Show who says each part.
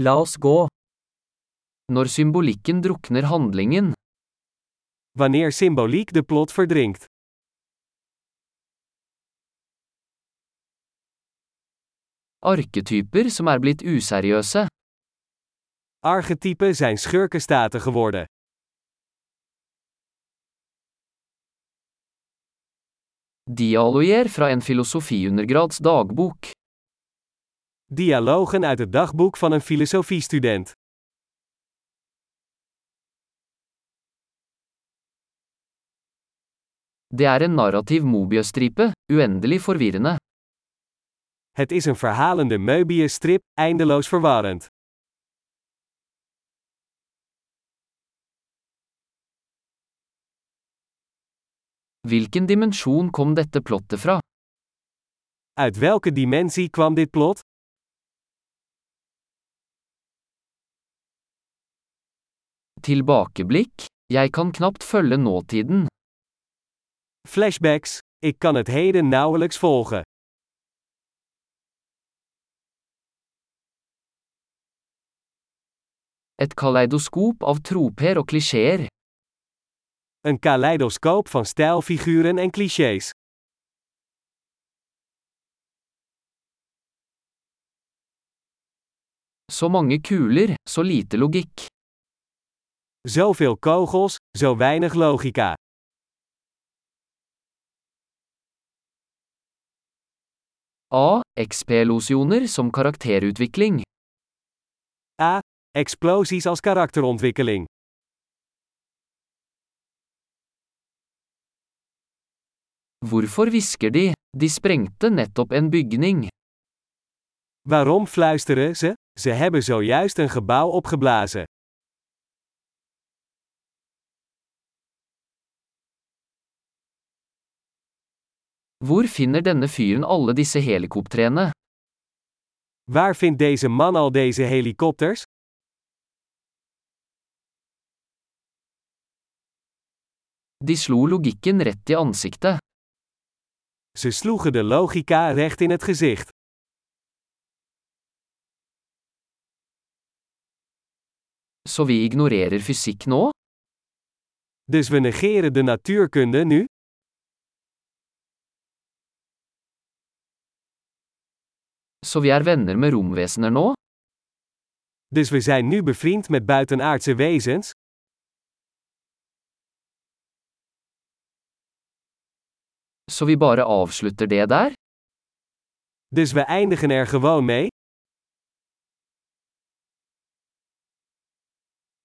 Speaker 1: La oss gå. Når symbolikken drukner handlingen,
Speaker 2: Wanneer symboliek de plot verdrinkt.
Speaker 1: arketyper som er blitt useriøse,
Speaker 2: Archetypen zijn schurkenstaten geworden.
Speaker 1: dialoger fra en filosofiundergrads dagbok,
Speaker 2: Dialogen uit het dagboek van een filosofiestudent.
Speaker 1: det er en narrativ mobiøstripe, uendelig forvirrende.
Speaker 2: Het is een verhalende Möbius-strip, eindeloos verwarrend.
Speaker 1: Hvilken dimensjon kom dette plottet fra?
Speaker 2: Uit welke dimensie kwam dit plot?
Speaker 1: Tilbakeblikk? Jeg kan knapt følge nåtiden.
Speaker 2: Flashbacks. Ik kan het heden nauwelijks volgen.
Speaker 1: Et kaleidoskop av troper og klisjeer.
Speaker 2: Een kaleidoscoop van stijlfiguren en clichés.
Speaker 1: Så mange kuler, så lite logikk.
Speaker 2: Zoveel kogels, zo weinig logica.
Speaker 1: A. XP-losjoner som karakterutvikling.
Speaker 2: Explosies als karakterontwikkeling.
Speaker 1: Hvorfor hvisker de? De sprengte nettopp en bygning.
Speaker 2: Waarom fluisteren ze? Ze hebben zojuist een gebouw opgeblazen.
Speaker 1: Hvor finner denne fyren alle disse helikoptrene?
Speaker 2: Waar vindt deze man al deze helikopters?
Speaker 1: De slo logikken rett i ansiktet.
Speaker 2: Ze sloegen de logica recht in het gezicht.
Speaker 1: Så vi ignorerer fysikk nå?
Speaker 2: Dus we negeren de natuurkunde nu?
Speaker 1: Så vi er venner med romvesener nå?
Speaker 2: Dus we zijn nu bevriend met buitenaardse wezens?
Speaker 1: Så vi bare avslutter det der?
Speaker 2: Dus we eindigen er gewoon mee?